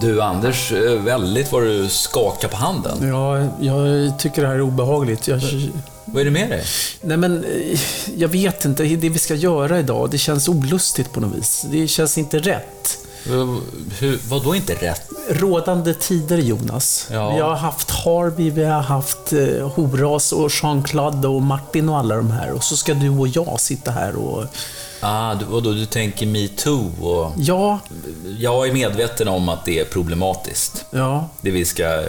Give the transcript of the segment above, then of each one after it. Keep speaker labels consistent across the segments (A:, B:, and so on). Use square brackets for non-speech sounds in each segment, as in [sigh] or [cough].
A: Du Anders, eh, väldigt vad du skakar på handen.
B: Ja, jag tycker det här är obehagligt. Jag,
A: Vad är det med dig?
B: nej men, eh, jag vet inte. Det vi ska göra idag, det känns olustigt på något vis. Det känns inte rätt.
A: Eh, Hur, vadå inte rätt?
B: Rådande tider, Jonas.
A: Ja.
B: Vi har haft Harvey, vi har haft eh, Horas och Jean-Claude och Martin och alla de här. Och så ska du och jag sitta här och...
A: Ah, du, vadå, du tänker metoo och...
B: Ja,
A: Jag är medveten om att det är problematiskt,
B: ja.
A: det vi ska eh,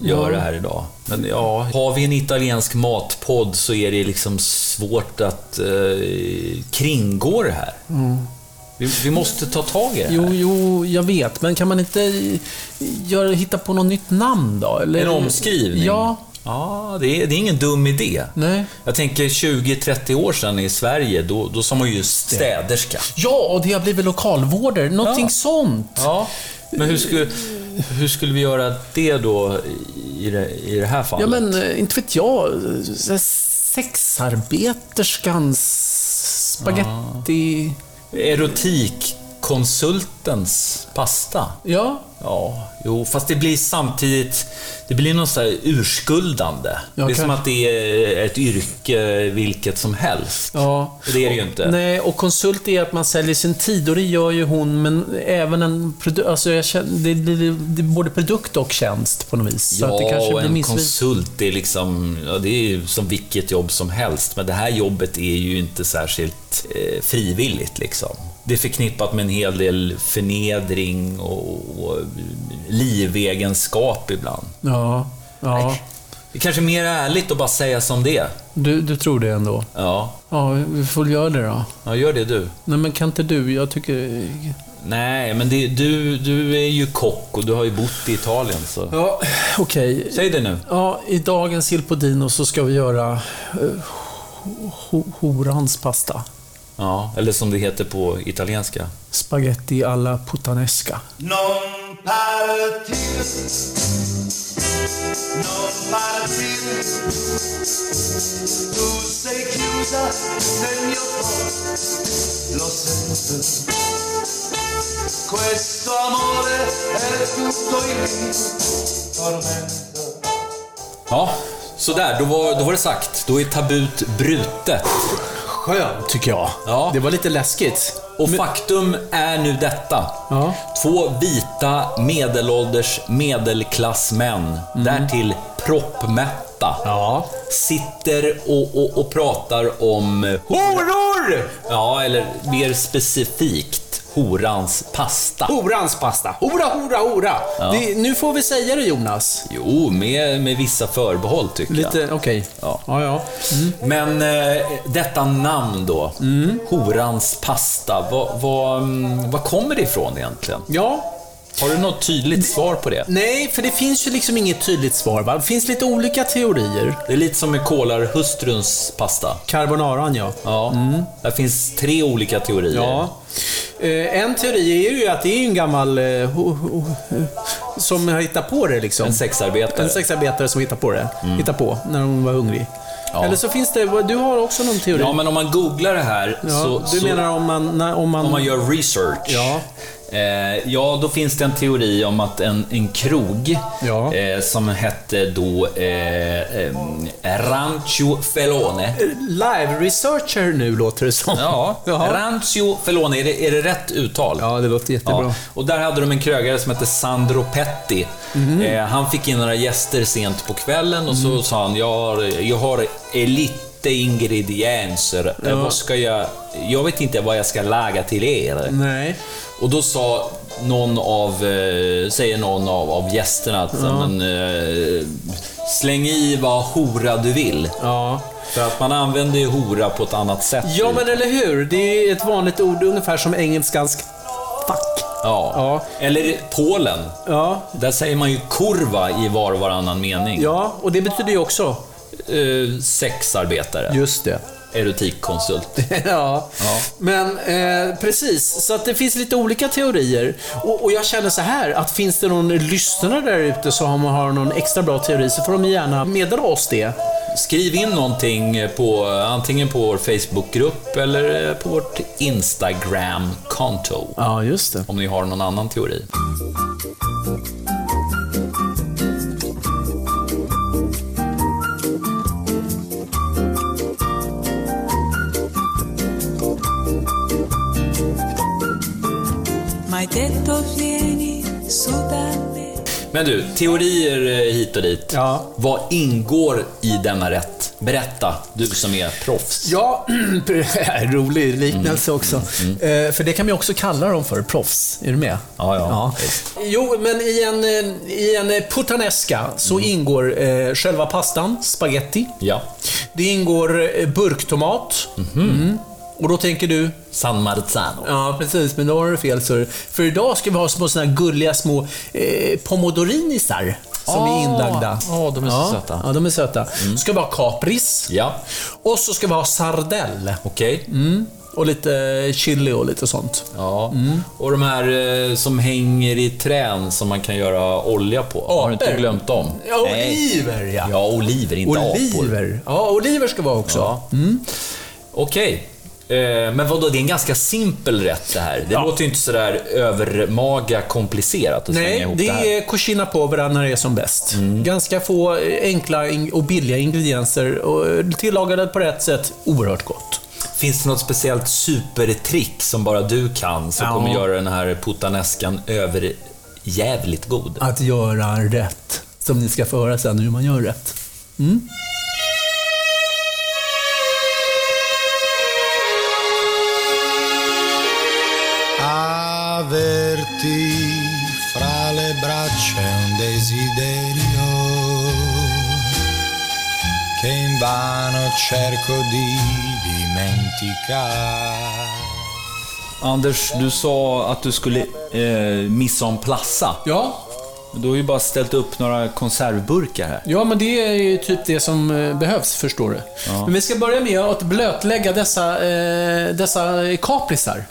A: göra
B: Ja.
A: här idag. Men ja, har vi en italiensk matpodd så är det liksom svårt att eh, kringgå det här. Vi, vi måste ta tag i det här.
B: Jo, jo, jag vet. Men kan man inte eh, göra, hitta på något nytt namn då? Eller?
A: En omskrivning?
B: Ja.
A: Ja, det är, det är ingen dum idé.
B: Nej.
A: Jag tänker 20-30 år sedan i Sverige, då, då sa man ju städerska.
B: Ja, och det har blivit lokalvårdare. Någonting
A: Ja.
B: sånt.
A: Ja, men hur skulle, hur skulle vi göra det då i det, i det här fallet?
B: Ja, men eh, inte vet jag. eh, så här Sexarbeterskans spaghetti...
A: Erotikkonsultens pasta?
B: Ja.
A: Ja, jo, fast det blir samtidigt, det blir något så här urskuldande.
B: Ja,
A: det är som
B: kanske.
A: att det är ett yrke vilket som helst.
B: Ja.
A: Och Det är det ju inte.
B: Nej, och konsult är att man säljer sin tid och det gör ju hon, men även en produkt... Alltså jag känner, det, det, det, det är både produkt och tjänst på något vis.
A: Ja,
B: att det kanske
A: och
B: blir
A: en
B: missvis-
A: konsult det är liksom, ja, det är ju som vilket jobb som helst. Men det här jobbet är ju inte särskilt eh, frivilligt liksom. Det är förknippat med en hel del förnedring och, och livegenskap ibland.
B: Ja. ja.
A: Det är kanske är mer ärligt att bara säga som det är.
B: Du, du tror det ändå?
A: Ja,
B: Ja, vi får väl göra det då.
A: ja gör det du.
B: Nej, men kan inte du? Jag tycker...
A: Nej, men det, du, du är ju kock och du har ju bott i Italien så...
B: Ja, okej.
A: Säg det nu.
B: Ja, i dagens Hilpodino så ska vi göra eh, ho- horans pasta.
A: Ja, eller som det heter på italienska.
B: Spaghetti alla puttanesca.
C: Non partire, non partire, tu sei chiusa nel mio cuore, lo sento. Questo amore è tutto il mio tormento.
A: Ja, sådär. Då var, då var det sagt. Då är tabut brutet.
B: Skön, tycker jag.
A: Ja.
B: Det var lite läskigt.
A: Och faktum är nu detta.
B: Ja.
A: Två vita medelålders medelklassmän, därtill proppmätta,
B: Mm. Ja.
A: sitter och, och, och pratar om horor! Ja, eller mer specifikt, horans pasta.
B: Horans pasta. Hora, hora, hora. Det, nu får vi säga det, Jonas.
A: Jo, med, med vissa förbehåll tycker jag.
B: Lite, okej.
A: Ja.
B: ja. ja. Mm.
A: Men eh, detta namn då, horans pasta, vad, vad, mm, vad kommer det ifrån egentligen?
B: Ja,
A: Har du något tydligt svar på det?
B: Nej, för det finns ju liksom inget tydligt svar. Va? Det finns lite olika teorier.
A: Det är lite som med kolarhustruns pasta.
B: Carbonaran, ja.
A: Ja, där finns tre olika teorier.
B: Ja. Eh, en teori är ju att det är ju en gammal... Eh, ho, ho, eh, som har hittat på det liksom.
A: En sexarbetare.
B: En sexarbetare som hittar på det. Hittar på när hon var hungrig.
A: Ja.
B: Eller så finns det... Du har också någon teori.
A: Ja, men om man googlar det här
B: Ja,
A: så...
B: du
A: så
B: menar om man... När, om man,
A: Om man gör research.
B: Ja.
A: Eh, ja, då finns det en teori om att en, en krog
B: Ja.
A: eh, som hette då eh, eh, Rancho Felone.
B: Live researcher nu låter det som.
A: Ja,
B: ja.
A: Rancho Felone, är det, är det rätt uttal?
B: Ja, det låter jättebra.
A: Ja. Och där hade de en krögare som hette Sandro Petti.
B: Mhm.
A: Eh, han fick in några gäster sent på kvällen och så sa han, jag har, jag har lite ingredienser. Eh, Vad ska jag... Jag vet inte vad jag ska laga till er.
B: Nej.
A: Och då sa någon av, eh, säger någon av, av gästerna att men, eh, släng i vad hora du vill.
B: Ja.
A: För att man använder ju hora på ett annat sätt.
B: ja, men eller hur? Det är ju ett vanligt ord, ungefär som engelskans fuck.
A: Ja.
B: Ja.
A: Eller Polen.
B: Ja,
A: Där säger man ju kurva i var och varannan mening.
B: Ja, och det betyder ju också.
A: Eh, sexarbetare.
B: Just det.
A: erotikkonsult.
B: [laughs] ja. men eh, precis. Så att det finns lite olika teorier. Och, och jag känner så här, att finns det någon lyssnare där ute som har någon extra bra teori så får de gärna meddela oss det.
A: Skriv in någonting på antingen på vår Facebookgrupp eller eh, på vårt Instagram-konto.
B: Ja, just det.
A: Om ni har någon annan teori.
D: Mai detto vieni su da me.
A: Men du, teorier eh, hit och dit.
B: Ja.
A: Vad ingår i denna rätt? Berätta, du som är proffs.
B: Ja, [clears throat] [laughs] rolig liknelse också. Eh, för det kan man ju också kalla dem för, proffs. Är du med?
A: Ja, ja.
B: Jo, men i en, eh, i en eh, puttanesca så ingår eh, själva pastan, spaghetti.
A: Ja.
B: Det ingår eh, burktomat. Mm. Och då tänker du,
A: San Marzano.
B: ja precis, men då har du fel Sir. För idag ska vi ha små såna här gulliga små eh, pomodorinisar som
A: Ah,
B: är inlagda.
A: ja, de är så
B: ja,
A: söta. Mm.
B: Ja, de är söta. Så ska vi ha kapris.
A: Ja,
B: Och så ska vi ha sardell. Mm.
A: okej.
B: Och lite eh, chili och lite sånt.
A: Ja. Och de här eh, som hänger i trän som man kan göra olja på. Har du inte
B: Apor.
A: glömt dem?
B: Ja, oliver ja.
A: Ja, oliver, inte apor.
B: Oliver. Ja, oliver ska vara också.
A: Ja. Okej. Eh, Men vadå, det är en ganska simpel rätt det här. Det låter ju inte sådär övermaga komplicerat att slänga
B: Nej,
A: ihop det,
B: det
A: här. Mm.
B: är Cucina Povera när det är som bäst. Ganska få eh, enkla in- och billiga ingredienser och eh, tillagade på rätt sätt, oerhört gott.
A: Finns det något speciellt supertrick som bara du kan som
B: Ja.
A: kommer göra den här puttaneskan överjävligt god?
B: Att göra rätt, som ni ska få höra sen hur man gör rätt.
E: Averti fra le braccia un desiderio che invano cerco di dimenticare.
A: Anders, du sa att du skulle eh, missa om plassa.
B: Ja,
A: Du har ju bara ställt upp några konservburkar här.
B: ja, men det är ju typ det som eh, behövs, förstår du. Men vi ska börja med att blötlägga dessa, eh, dessa kaprisar.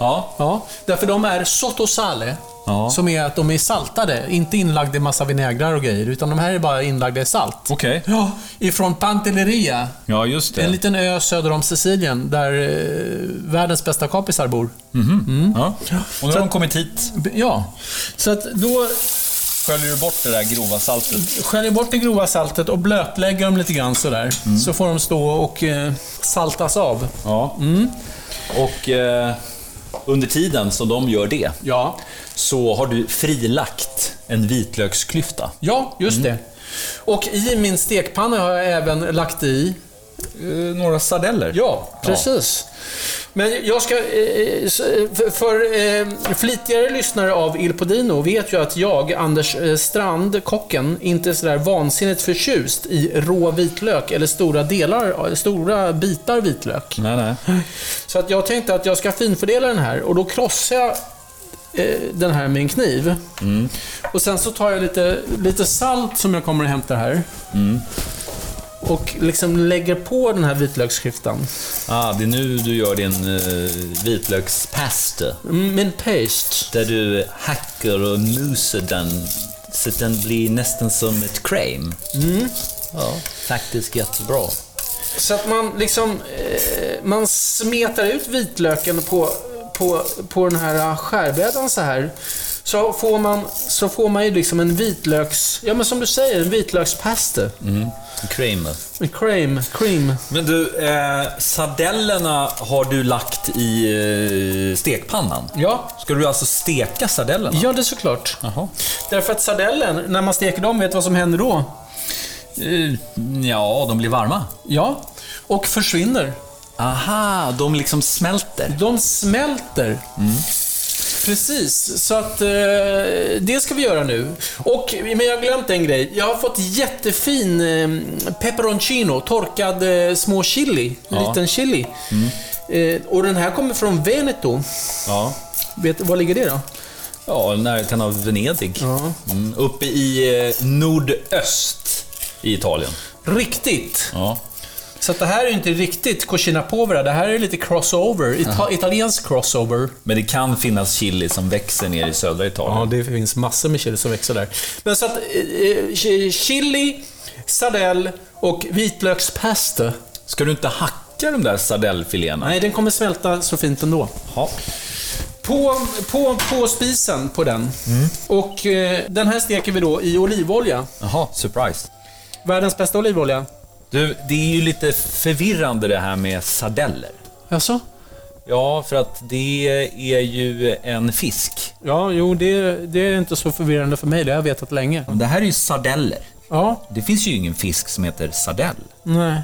A: Ja,
B: Ja, därför de är sottosale.
A: Ja.
B: Som är att de är saltade, inte inlagda i massa vinägrar och grejer. Utan de här är bara inlagda i salt.
A: Okej.
B: Ja, ifrån Pantelleria.
A: ja just det.
B: En liten ö söder om Sicilien där eh, världens bästa kapisar bor.
A: Mm. Ja. Och nu har de kommit hit.
B: B- Ja, så att då
A: Sköljer du bort det där grova saltet?
B: sköljer bort det grova saltet och blötlägger dem lite grann sådär. Så får de stå och eh, saltas av.
A: Ja. Mm. Och eh, under tiden som de gör det
B: Ja,
A: så har du frilagt en vitlöksklyfta.
B: ja just det. Och i min stekpanna har jag även lagt i
A: Eh, några sardeller?
B: Ja, precis. Men jag ska... eh, s- För för, eh, flitigare lyssnare av Il Podino vet ju att jag, Anders eh, Strand, kocken, inte är sådär vansinnigt förtjust i rå vitlök eller stora delar, stora bitar vitlök.
A: Nej, nej.
B: Så att jag tänkte att jag ska finfördela den här och då krossar jag eh, den här med en kniv. Och sen så tar jag lite, lite salt som jag kommer att hämta här. Och liksom lägger på den här vitlöksklyftan.
A: Ah, det är nu du gör din eh, vitlökspaste.
B: Mm, Men paste.
A: Där du hackar och muser den så att den blir nästan som ett crème. Mm. Ja, faktiskt jättebra.
B: Så att man liksom... Eh, man smetar ut vitlöken på, på, på den här skärbrädan så här. Så får man, så får man ju liksom en vitlöks... Ja men som du säger, en vitlökspaste.
A: Mm. Crème.
B: En cream. cream.
A: Men du, eh, sardellerna har du lagt i eh, stekpannan.
B: Ja.
A: Ska du alltså steka sardellerna?
B: Ja, det är såklart.
A: Jaha.
B: Därför att sardellen, när man steker dem, vet du vad som händer då?
A: Eh, Ja, de blir varma.
B: Ja. Och försvinner.
A: Aha, de liksom smälter.
B: De smälter. Precis, så att eh, det ska vi göra nu. Och, men jag har glömt en grej. Jag har fått jättefin eh, peperoncino, torkad eh, små chili, liten chili. Eh, och den här kommer från Veneto.
A: Ja.
B: Vet, var ligger det då?
A: Ja, i närheten av Venedig.
B: Ja.
A: Mm, uppe i eh, nordöst i Italien.
B: Riktigt!
A: Ja.
B: Så att det här är ju inte riktigt cucina povera, det här är lite crossover. Ita- italiensk crossover.
A: Men det kan finnas chili som växer ner i södra Italien.
B: Ja, det finns massor med chili som växer där. Men så att eh, eh, chi- chili, sardell och vitlökspesto.
A: Ska du inte hacka de där sardellfiléerna?
B: Nej, den kommer smälta så fint ändå.
A: Ja.
B: På, på, på spisen på den. Och eh, den här steker vi då i olivolja.
A: Jaha, surprise.
B: Världens bästa olivolja.
A: Du, det är ju lite förvirrande det här med sardeller.
B: Jaså?
A: Ja, för att det är ju en fisk.
B: Ja, jo, det, det är inte så förvirrande för mig. Det har jag vetat länge.
A: Det här är ju sardeller.
B: Ja,
A: Det finns ju ingen fisk som heter sardell.
B: nej.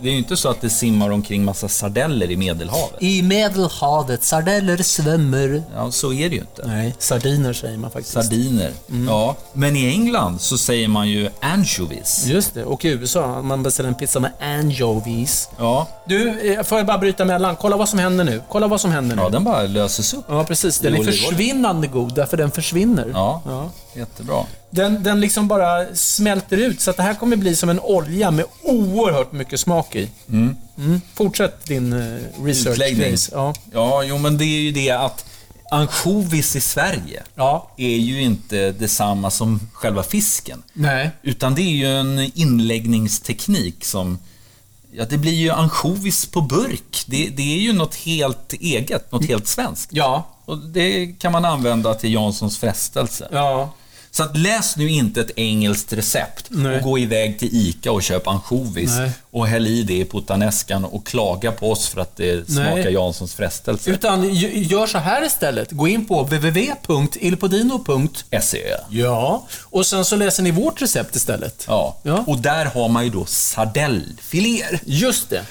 A: Det är ju inte så att det simmar omkring massa sardeller i Medelhavet.
B: I Medelhavet, sardeller svämmer.
A: Ja, så är det ju inte. Mm.
B: Nej, sardiner säger man faktiskt.
A: Sardiner. Ja. Men i England så säger man ju anchovies.
B: Just det, och i USA, man beställer en pizza med anchovies.
A: Ja,
B: Du, eh, får jag bara bryta mellan? Kolla vad som händer nu. Kolla vad som händer nu.
A: ja den bara löses upp.
B: Ja, precis. Den
A: I
B: är
A: olivolja.
B: försvinnande god, därför den försvinner.
A: Ja,
B: Ja.
A: jättebra.
B: Den, den liksom bara smälter ut, så att det här kommer bli som en olja med oerhört mycket smak i. Mm. Fortsätt din eh, research.
A: Utläggning.
B: please. Ja.
A: Ja, jo men det är ju det att ansjovis i Sverige
B: ja.
A: är ju inte detsamma som själva fisken.
B: Nej.
A: Utan det är ju en inläggningsteknik som... Ja, det blir ju ansjovis på burk. Det, det är ju något helt eget, något helt svenskt.
B: Ja.
A: Och det kan man använda till Janssons frestelse.
B: Ja.
A: Så att läs nu inte ett engelskt recept
B: Nej.
A: och gå iväg till ICA och köp ansjovis
B: Nej.
A: och häll i det i puttaneskan och klaga på oss för att det smakar
B: Nej.
A: Janssons frestelse.
B: Utan ju- gör så här istället. Gå in på www.ilpodino.
A: SE.
B: Ja. Och sen så läser ni vårt recept istället.
A: Ja.
B: Ja.
A: och där har man ju då sardellfiléer.
B: Just det.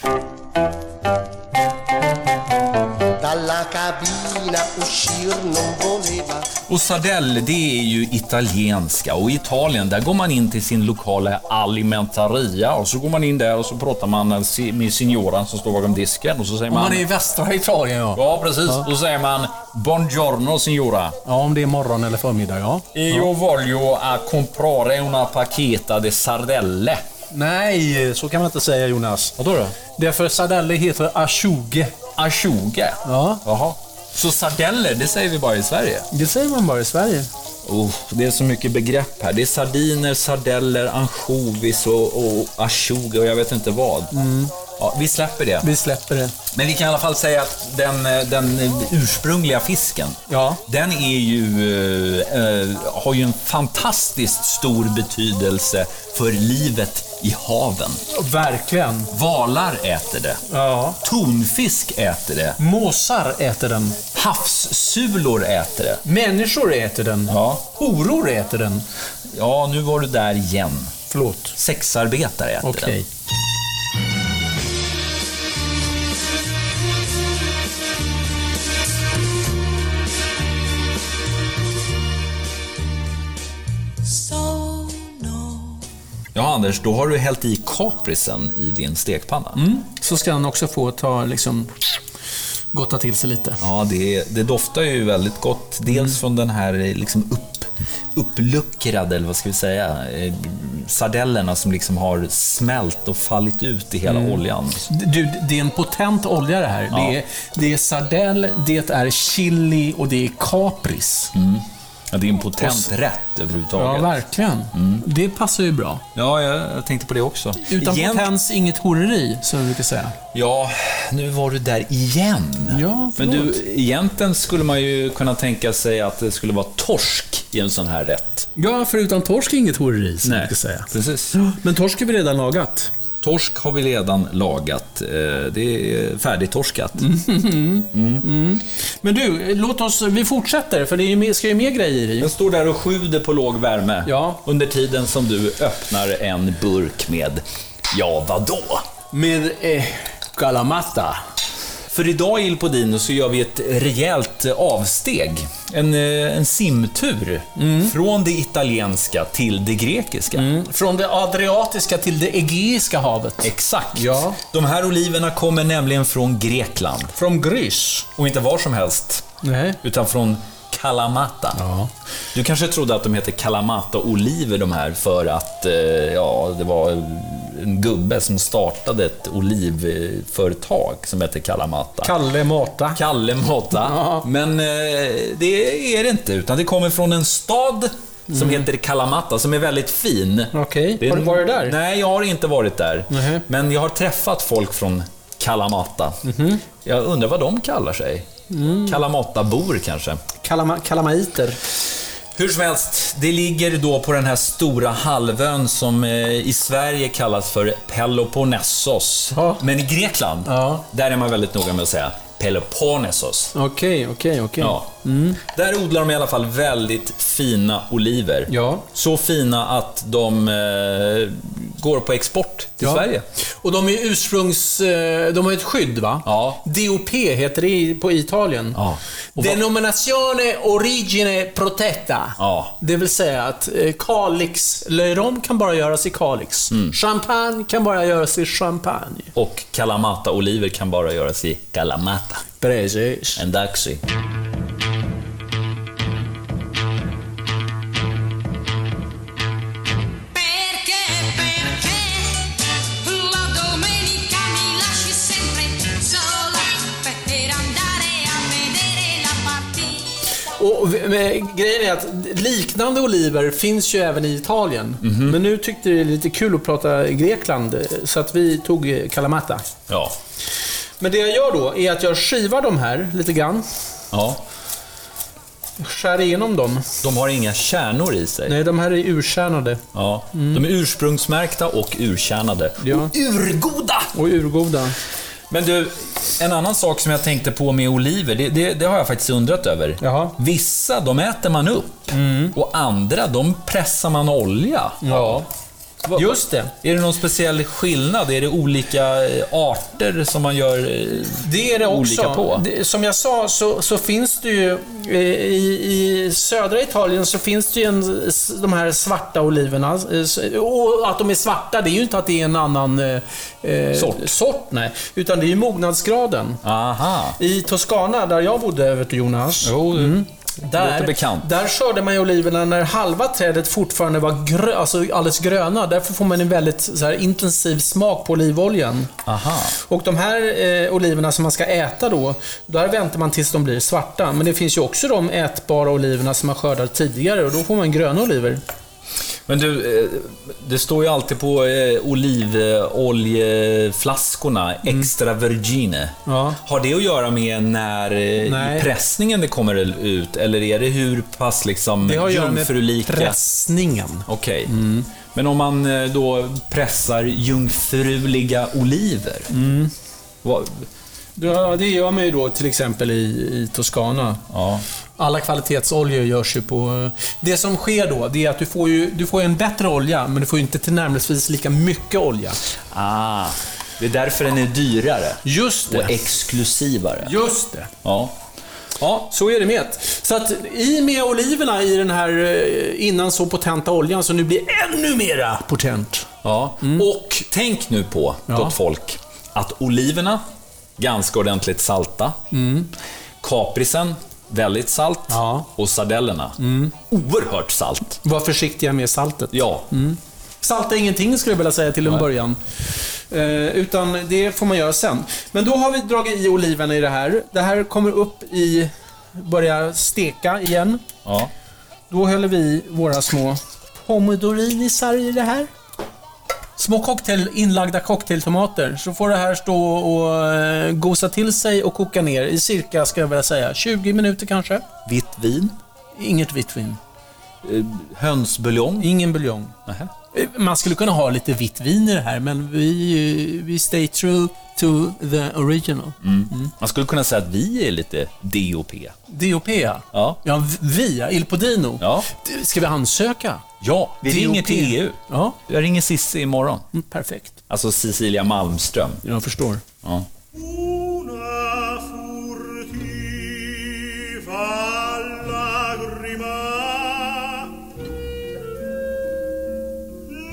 F: dalla cabina uscir non voleva.
A: Och sardell, det är ju italienska och i Italien där går man in till sin lokala alimentaria och så går man in där och så pratar man med signoran som står bakom disken och så säger man...
B: Man är i västra Italien ja.
A: Ja, precis. Då säger man “Buongiorno signora”.
B: Ja, om det är morgon eller förmiddag ja.
A: Io voglio a comprare una pacchetta di sardelle.
B: Nej, så kan man inte säga Jonas. Vadå då? Därför Sardelli heter A20.
A: A 20.
B: Ja.
A: Jaha. Så sardeller, det säger vi bara i Sverige.
B: Det säger man bara i Sverige.
A: Oh, det är så mycket begrepp här. Det är sardiner, sardeller, ansjovis och, och ashuga och jag vet inte vad. Ja, Mm. vi släpper det.
B: Vi släpper det.
A: Men vi kan i alla fall säga att den, eh, den ursprungliga fisken,
B: Ja.
A: den är ju, eh, eh, har ju en fantastiskt stor betydelse för livet i haven.
B: Verkligen.
A: Valar äter det.
B: Ja.
A: Tonfisk äter det.
B: Måsar äter den.
A: Havssulor äter det.
B: Människor äter den.
A: Ja.
B: Horor äter den.
A: Ja, nu var du där igen.
B: Förlåt.
A: Sexarbetare äter
B: Okej.
A: den.
D: Sono
A: Ja, Anders, då har du hällt i kaprisen i din stekpanna.
B: Så ska han också få ta liksom gotta till sig lite.
A: Ja, det, det doftar ju väldigt gott. Dels från den här eh, liksom upp, uppluckrade, eller vad ska vi säga, eh, sardellerna som liksom har smält och fallit ut i hela oljan.
B: Du, det är en potent olja det här. Det, är, det är sardell, det är chili och det är kapris.
A: Ja, det är en potent
B: Och s-
A: rätt
B: Ja,
A: överhuvudtaget.
B: verkligen. Det passar ju bra.
A: ja jag, jag tänkte på det också.
B: Utan
A: Egent-
B: potens, inget horeri, som vi brukar säga.
A: Ja, nu var du där igen.
B: Ja,
A: Men
B: förlåt.
A: du, egentligen skulle man ju kunna tänka sig att det skulle vara torsk i en sån här rätt.
B: Ja, för utan torsk inget horeri, som
A: precis.
B: Men torsk har vi redan lagat.
A: Torsk har vi redan lagat. Eh, Det är färdigtorskat.
B: Mm. Men du, låt oss, vi fortsätter, för det är ju mer, ska ju mer grejer i.
A: Den står där och sjuder på låg värme
B: Ja.
A: under tiden som du öppnar en burk med, ja vadå?
B: Men, eh, kalamata.
A: För idag i Il Podino så gör vi ett rejält avsteg. En, eh, en simtur
B: Mm.
A: från det italienska till det grekiska.
B: Från det Adriatiska till det Egeiska havet.
A: Exakt.
B: Ja.
A: De här oliverna kommer nämligen från Grekland.
B: Från Grys.
A: Och inte var som helst.
B: Nej.
A: Utan från Kalamata. Du kanske trodde att de heter Kalamata-oliver de här för att eh, ja, det var en gubbe som startade ett olivföretag som hette Kalamata.
B: Kalle Mata.
A: Kalle Mata. Men eh, det är det inte, utan det kommer från en stad som heter Kalamata, som är väldigt fin.
B: Mm. Okej.
A: Det är
B: Har du
A: en-
B: varit där?
A: Nej, jag har inte varit där.
B: Mhm.
A: Men jag har träffat folk från Kalamata.
B: Mhm.
A: Jag undrar vad de kallar sig.
B: Mm.
A: Kalamata-bor kanske.
B: Kalama- kalamaiter.
A: Hur som helst, det ligger då på den här stora halvön som eh, i Sverige kallas för Peloponnesos.
B: Ja.
A: Men i Grekland,
B: Ja.
A: där är man väldigt noga med att säga Peloponnesos.
B: Okej, okej, okej.
A: Ja.
B: Mm.
A: Där odlar de i alla fall väldigt fina oliver.
B: Ja.
A: Så fina att de eh, går på export till
B: Ja.
A: Sverige.
B: Och de är ursprungs... eh, De har ett skydd, va?
A: Ja.
B: DOP heter det i- på Italien.
A: Ja. Och vad-
B: Denominazione origine protetta.
A: Ja.
B: Det vill säga att eh, Kalix... Löjrom kan bara göras i Kalix.
A: Mm.
B: Champagne kan bara göras i Champagne.
A: Och Kalamata-oliver kan bara göras i Kalamata.
B: Precis.
A: En daxi.
G: Perché, perché la domenica mi lasci sempre sola per andare a vedere la partita?
B: Och v- men, grejen är att liknande oliver finns ju även i Italien. Men nu tyckte vi det är lite kul att prata Grekland, eh, så att vi tog eh, Kalamata.
A: Ja.
B: Men det jag gör då är att jag skivar de här lite grann.
A: ja.
B: Skär igenom dem.
A: De har inga kärnor i sig.
B: Nej, de här är urkärnade
A: Ja. De är ursprungsmärkta och urkärnade.
B: Ja.
A: Och urgoda!
B: och urgoda.
A: Men du, en annan sak som jag tänkte på med oliver, det, det, det har jag faktiskt undrat över.
B: Jaha.
A: Vissa, de äter man upp och andra, de pressar man olja.
B: Ja.
A: Va-
B: Just det.
A: Är det någon speciell skillnad? Är det olika eh, arter som man gör eh,
B: Det är det också.
A: olika på?
B: Det, som jag sa så, så finns det ju eh, i, i södra Italien så finns det ju en, s- de här svarta oliverna. eh, s- Och att de är svarta, det är ju inte att det är en annan eh, eh,
A: Sort.
B: sort nej. Utan det är ju mognadsgraden.
A: Aha. Mm.
B: I Toscana, där jag bodde, vet du Jonas.
A: Jo, låter
B: Där,
A: bekant.
B: där körde man ju oliverna när halva trädet fortfarande var grö, alltså alldeles gröna. Därför får man en väldigt så här, intensiv smak på olivoljan.
A: Aha.
B: Och de här eh, oliverna som man ska äta då, där väntar man tills de blir svarta. Men det finns ju också de ätbara oliverna som man skördar tidigare och då får man gröna oliver.
A: Men du, eh, det står ju alltid på eh, olivoljeflaskorna, extra vergine.
B: Mm. Ja.
A: Har det att göra med när eh,
B: Nej.
A: pressningen det kommer ut, eller är det hur pass liksom
B: Det har att göra med Mm.
A: jungfrulika?
B: pressningen.
A: Okej. Men om man eh, då pressar jungfruliga oliver?
B: Mm.
A: Vad-
B: Ja, det gör man ju då till exempel i, i Toscana.
A: Ja.
B: Alla kvalitetsoljor görs ju på... eh, Det som sker då, det är att du får ju, du får ju en bättre olja, men du får ju inte tillnärmelsevis lika mycket olja.
A: Ah, det är därför den är dyrare
B: Just
A: och exklusivare.
B: Just det.
A: Ja.
B: Ja, så är det med. Så att i med oliverna i den här eh, innan så potenta oljan så nu blir ännu mera potent.
A: Ja. Och tänk nu på,
B: Mm. Ja.
A: gott folk, att oliverna, ganska ordentligt salta. Kaprisen, väldigt salt.
B: Mm. Ja. Mm.
A: Och sardellerna, oerhört salt.
B: Var försiktiga med saltet.
A: Ja,
B: Mm. Salta ingenting skulle jag vilja säga till en början. Eh, utan det får man göra sen. Men då har vi dragit i oliverna i det här. Det här kommer upp i... Börjar steka igen.
A: ja.
B: Då häller vi i våra små pomodorinisar i det här. Små cocktail, inlagda cocktailtomater. Så får det här stå och eh, gosa till sig och koka ner i cirka, ska jag vilja säga, 20 minuter kanske.
A: Vitt vin,
B: Inget vitt vin.
A: hönsbuljong.
B: Ingen buljong.
A: Nähä.
B: Eh, Man skulle kunna ha lite vitt vin i det här, men vi, eh, vi stay true to the original.
A: Mm. Man skulle kunna säga att vi är lite DOP.
B: DOP, ja.
A: Ja.
B: ja. Via Il Podino.
A: Ja.
B: D- Ska vi ansöka?
A: Ja, vi
B: DOP.
A: ringer till EU.
B: Ja,
A: E Jag ringer Sissi imorgon.
B: mm, perfekt.
A: Alltså Cecilia Malmström.
B: Jag förstår.
A: Ja.
C: Una furtiva lagrima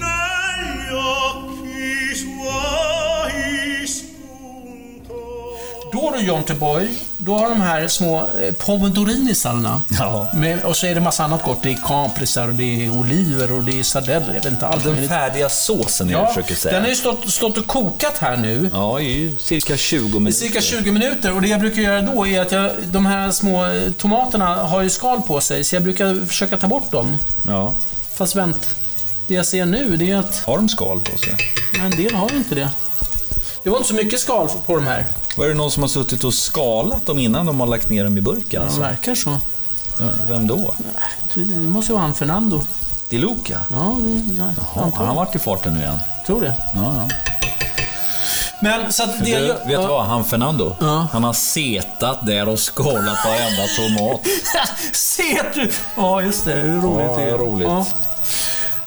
C: negli occhi suoi spuntò.
B: Då du Jonteborg, då har de här små eh, pomodorinisarna.
A: Ja.
B: Med, och så är det massa annat gott. Det är kaprisar, och det är oliver och det är sardeller. Jag vet inte allt.
A: Den färdiga såsen jag
B: ja,
A: försöker säga.
B: den har ju stått, stått och kokat här nu.
A: Ja, det är ju cirka 20 minuter.
B: I cirka 20 minuter och det jag brukar göra då är att jag, de här små eh, tomaterna har ju skal på sig så jag brukar försöka ta bort dem.
A: Ja.
B: Fast vänt. Det jag ser nu det är att
A: Har de skal på sig?
B: en del har ju inte det. Det var inte så mycket skal på de här.
A: Var det någon som har suttit och skalat dem innan de har lagt ner dem i burken?
B: De
A: Alltså?
B: verkar så.
A: Ja, Vem då?
B: Det måste ju vara han Fernando.
A: Det är Luca.
B: Ja, det- ja
A: Ja,
B: antagligen.
A: han har varit i farten nu igen.
B: tror det.
A: Ja, ja.
B: Men så att det...
A: Du, vet du
B: ja.
A: vad? Han Fernando,
B: Ja.
A: han har setat där och skalat varenda tomat.
B: [laughs] Ser du? Ja, just det. Hur roligt
A: Ja,
B: det är.
A: roligt.
B: Ja.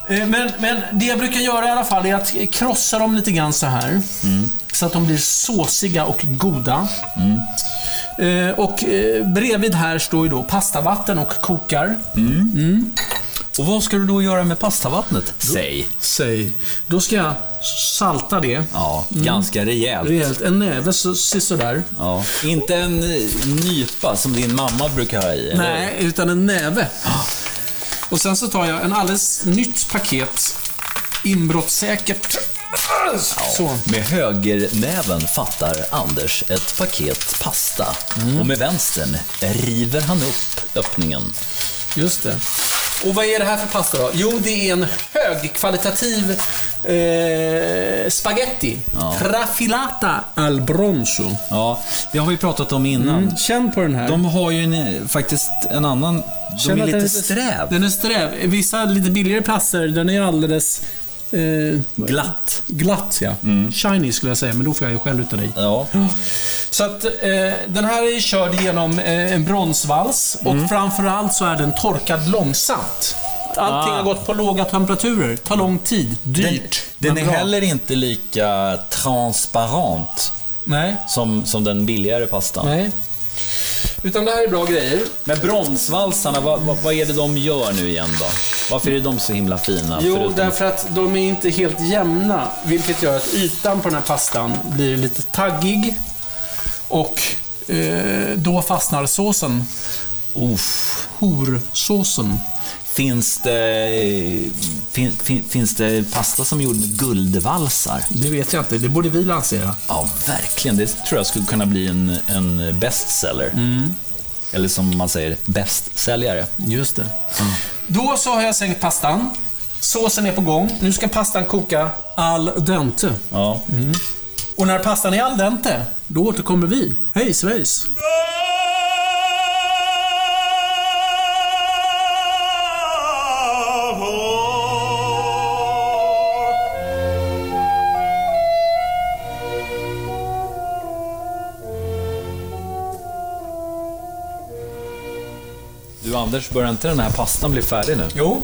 B: Eh, Men, men det jag brukar göra i alla fall är att krossa dem lite grann så här.
A: Mm.
B: Så att de blir såsiga och goda. Eh, Och eh, bredvid här står ju då pastavatten och kokar.
A: Mm. Och vad ska du då göra med pastavattnet? Säg.
B: Säg. Då ska jag salta det.
A: Ja, ganska rejält.
B: Rejält. En näve, så, se sådär.
A: Ja. Inte en eh, nypa som din mamma brukar ha i. eller?
B: Nej, utan en näve. Och sen så tar jag en alldeles nytt paket. Inbrottssäkert. Så.
A: Med högernäven fattar Anders ett paket pasta och med vänstern river han upp öppningen.
B: Just det. Och vad är det här för pasta då? Jo, det är en högkvalitativ eh, spaghetti. Trafilata al bronzo.
A: Ja, det har vi pratat om innan.
B: Känn på den här.
A: De har ju en, faktiskt en annan... De
B: Känn
A: är
B: att den
A: lite sträv.
B: Den är sträv. Vissa lite billigare platser, den är alldeles eh,
A: Glatt. Mm.
B: glatt. Ja. Shiny skulle jag säga, men då får jag ju själv utav dig.
A: Ja.
B: Så att eh, den här är körd genom eh, en bronsvals
A: Mm.
B: och framförallt så är den torkad långsamt. Allting
A: Ah.
B: har gått på låga temperaturer, tar lång tid, dyrt.
A: Den är
B: men bra.
A: heller inte lika transparent
B: Nej.
A: som, som den billigare pastan.
B: Nej. Utan det här är bra grejer.
A: Men bronsvalsarna, vad, vad, vad är det de gör nu igen då? Varför är de så himla fina?
B: Jo,
A: förutom-
B: därför att de är inte helt jämna, vilket gör att ytan på den här pastan blir lite taggig. Och eh, då fastnar såsen. Uff. Horsåsen.
A: Finns det, fin, fin, finns det pasta som är gjord med guldvalsar?
B: Det vet jag inte, det borde vi lansera.
A: Ja, verkligen. Det tror jag skulle kunna bli en, en bestseller. Eller som man säger, bästsäljare.
B: Just det. Då så har jag sänkt pastan. Såsen är på gång. Nu ska pastan koka al dente.
A: Ja.
B: Och när pastan är al dente, då återkommer vi. Hej svejs!
C: Oh.
A: Du Anders, börjar inte den här pastan bli färdig nu?
B: Jo.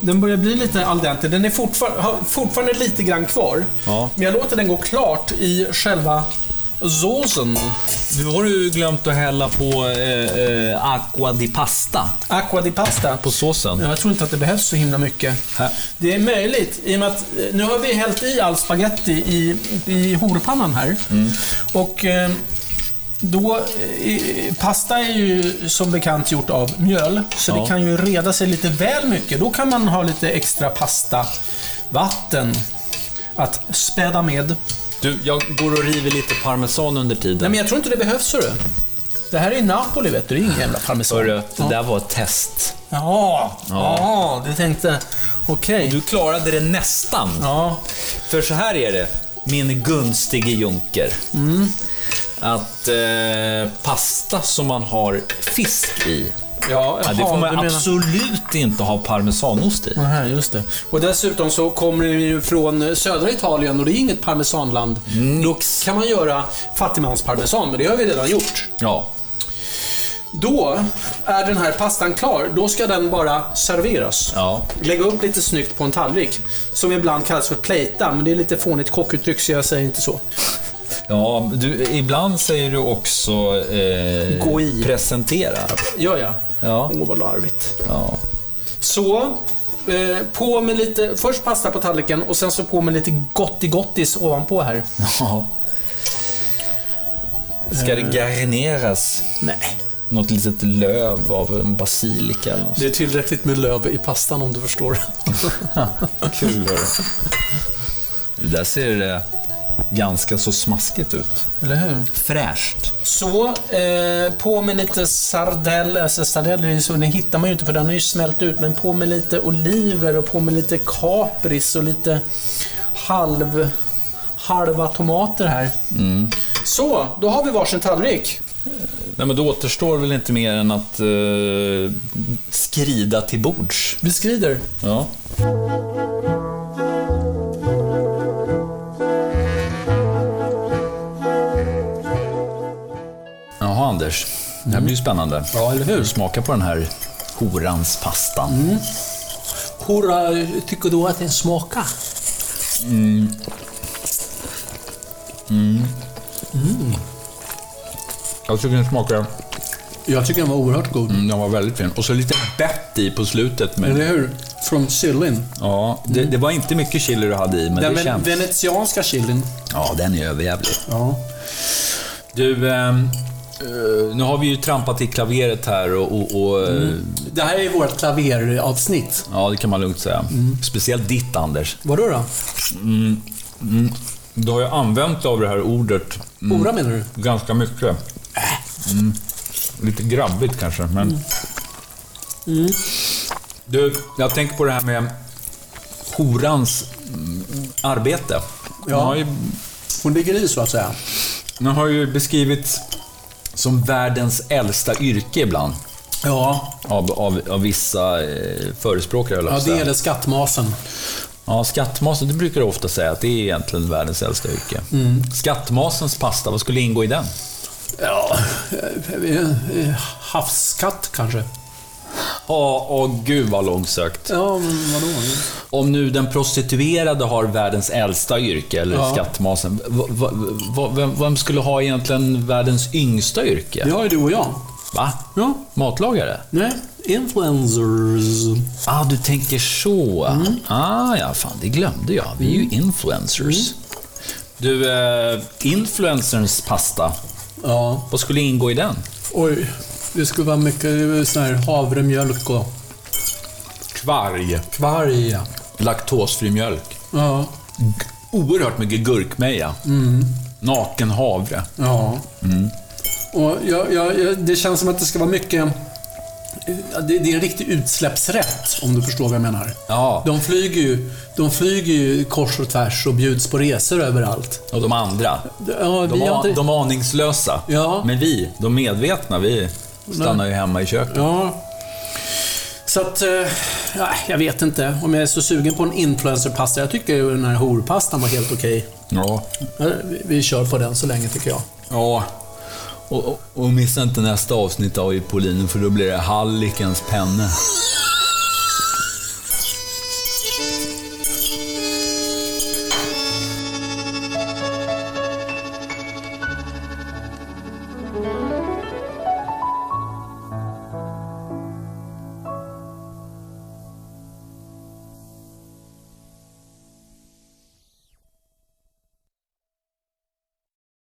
B: Den börjar bli lite al dente. Den är fortfar- har fortfarande lite grann kvar.
A: Ja.
B: Men jag låter den gå klart i själva såsen.
A: Nu har du glömt att hälla på eh, eh, acqua di pasta
B: Acqua di pasta.
A: på såsen.
B: Ja, Jag tror inte att det behövs så himla mycket.
A: Här.
B: Det är möjligt i och med att eh, nu har vi hällt i all spagetti i, i horpannan här.
A: Mm.
B: Och eh, då, eh, pasta är ju som bekant gjort av mjöl, så
A: Ja.
B: det kan ju reda sig lite väl mycket. Då kan man ha lite extra pasta, vatten att späda med.
A: Du, jag går och river lite parmesan under
B: Nej,
A: tiden.
B: men jag tror inte det behövs, hörru. Det här är ju Napoli, vet du. Det är ingen jävla parmesan.
A: Hörru,
B: Ja,
A: det där var ett test.
B: ja. ja du tänkte... Okej.
A: Du klarade det nästan.
B: Ja,
A: För så här är det, min gunstige junker. Att eh, pasta som man har fisk i,
B: Ja,
A: ja, det
B: jaha,
A: får man
B: du menar-
A: absolut inte ha parmesanost i.
B: Aha, just det. Och dessutom så kommer det ju från eh, södra Italien och det är inget parmesanland.
A: Mm.
B: Då kan man göra fattigmansparmesan, men det har vi redan gjort.
A: Ja,
B: Då är den här pastan klar. Då ska den bara serveras.
A: Ja.
B: Lägga upp lite snyggt på en tallrik. Som ibland kallas för plejta, men det är lite fånigt kockuttryck så jag säger inte så.
A: ja du, ibland säger du också eh,
B: Gå i.
A: presentera.
B: Gör jag?
A: Ja.
B: Åh, vad larvigt.
A: Ja.
B: Så, eh, på med lite... Först pasta på tallriken och sen så på med lite gottigottis ovanpå här.
A: Ja. Ska
B: Eh.
A: det garneras?
B: Nej.
A: Något litet löv av en basilika eller något.
B: Det är tillräckligt med löv i pastan om du förstår.
A: Kul hörru. [laughs] Det där ser eh, ganska så smaskigt ut.
B: Eller hur?
A: Fräscht.
B: Så, eh, på med lite sardell, alltså sardell är ju så, den hittar man ju inte för den har ju smält ut, men på med lite oliver och på med lite kapris och lite halv, halva tomater här.
A: Mm.
B: Så, då har vi varsin tallrik.
A: Nej, men då återstår väl inte mer än att eh, skrida till bords.
B: Vi skrider.
A: Ja. Jaha, Anders. Det här blir ju spännande. Mm. Ja, eller hur? Mm. Smaka på den här horans pastan.
B: Hur tycker du att den smakar?
A: Jag tycker den smakar...
B: Jag tycker den var oerhört god.
A: mm, Den var väldigt fin. Och så lite bett i på slutet. Men,
B: hur? Från chilin.
A: ja, det, det var inte mycket chili du hade i, men
B: Den
A: det
B: ven-
A: känns...
B: venetianska chilin.
A: Ja, den är överjävlig.
B: Ja.
A: Du, ehm, eh, nu har vi ju trampat i klaveret här och... och, och eh,
B: Det här är vårt klaveravsnitt.
A: Ja, det kan man lugnt säga. Speciellt ditt, Anders.
B: Vadå då?
A: Du har ju använt av det här ordet
B: Ora menar du?
A: ganska mycket. Mm. Lite grabbigt kanske, men... Mm. Du, jag tänker på det här med horans mm, arbete. Den,
B: Ja.
A: har ju,
B: Hon ligger i så att säga.
A: den har ju beskrivits som världens äldsta yrke ibland.
B: Ja,
A: Av, av, av vissa eh, förespråkare, höll jag
B: ja
A: på att
B: det
A: säga.
B: gäller skattmasen.
A: Ja, skattmasen, det brukar jag ofta säga att det är egentligen världens äldsta yrke.
B: Mm.
A: Skattmasens pasta, vad skulle ingå i den?
B: Ja, eh, eh, havskatt kanske.
A: Ja, åh gud vad långsökt.
B: Ja, men vadå?
A: Om nu den prostituerade har världens äldsta yrke, eller
B: Ja.
A: skattmasen, v- v- v- vem, vem skulle ha egentligen världens yngsta yrke?
B: Det har ju du och jag.
A: Va?
B: Ja.
A: Matlagare?
B: Nej, influencers.
A: Ah, du tänker så.
B: Mm.
A: Ah, ja, fan, det glömde jag. Vi är ju influencers.
B: Mm.
A: Du, eh, influencerns pasta,
B: Ja,
A: vad skulle ingå i den?
B: oj. Det skulle vara mycket sån här havremjölk och
A: Kvarg.
B: kvarg. ja.
A: Laktosfri mjölk.
B: Ja,
A: Oerhört mycket gurkmeja.
B: Mm.
A: Naken havre.
B: ja.
A: Mm.
B: Och jag, jag, jag, det känns som att det ska vara mycket... ja, Det, det är en riktig utsläppsrätt, om du förstår vad jag menar.
A: Ja,
B: De flyger, ju, de flyger ju kors och tvärs och bjuds på resor överallt.
A: och de andra.
B: Ja,
A: De,
B: vi har
A: a,
B: inte...
A: de aningslösa.
B: Ja.
A: Men vi, de medvetna, vi stannar ju hemma i köket.
B: ja. Så att, eh, nej, jag vet inte om jag är så sugen på en influencerpasta. Jag tycker ju den här horpastan var helt okej.
A: Ja.
B: Ja, vi- Vi kör på den så länge tycker jag.
A: ja. Och, och, och missa inte nästa avsnitt av Pauline, för då blir det Hallikens penne.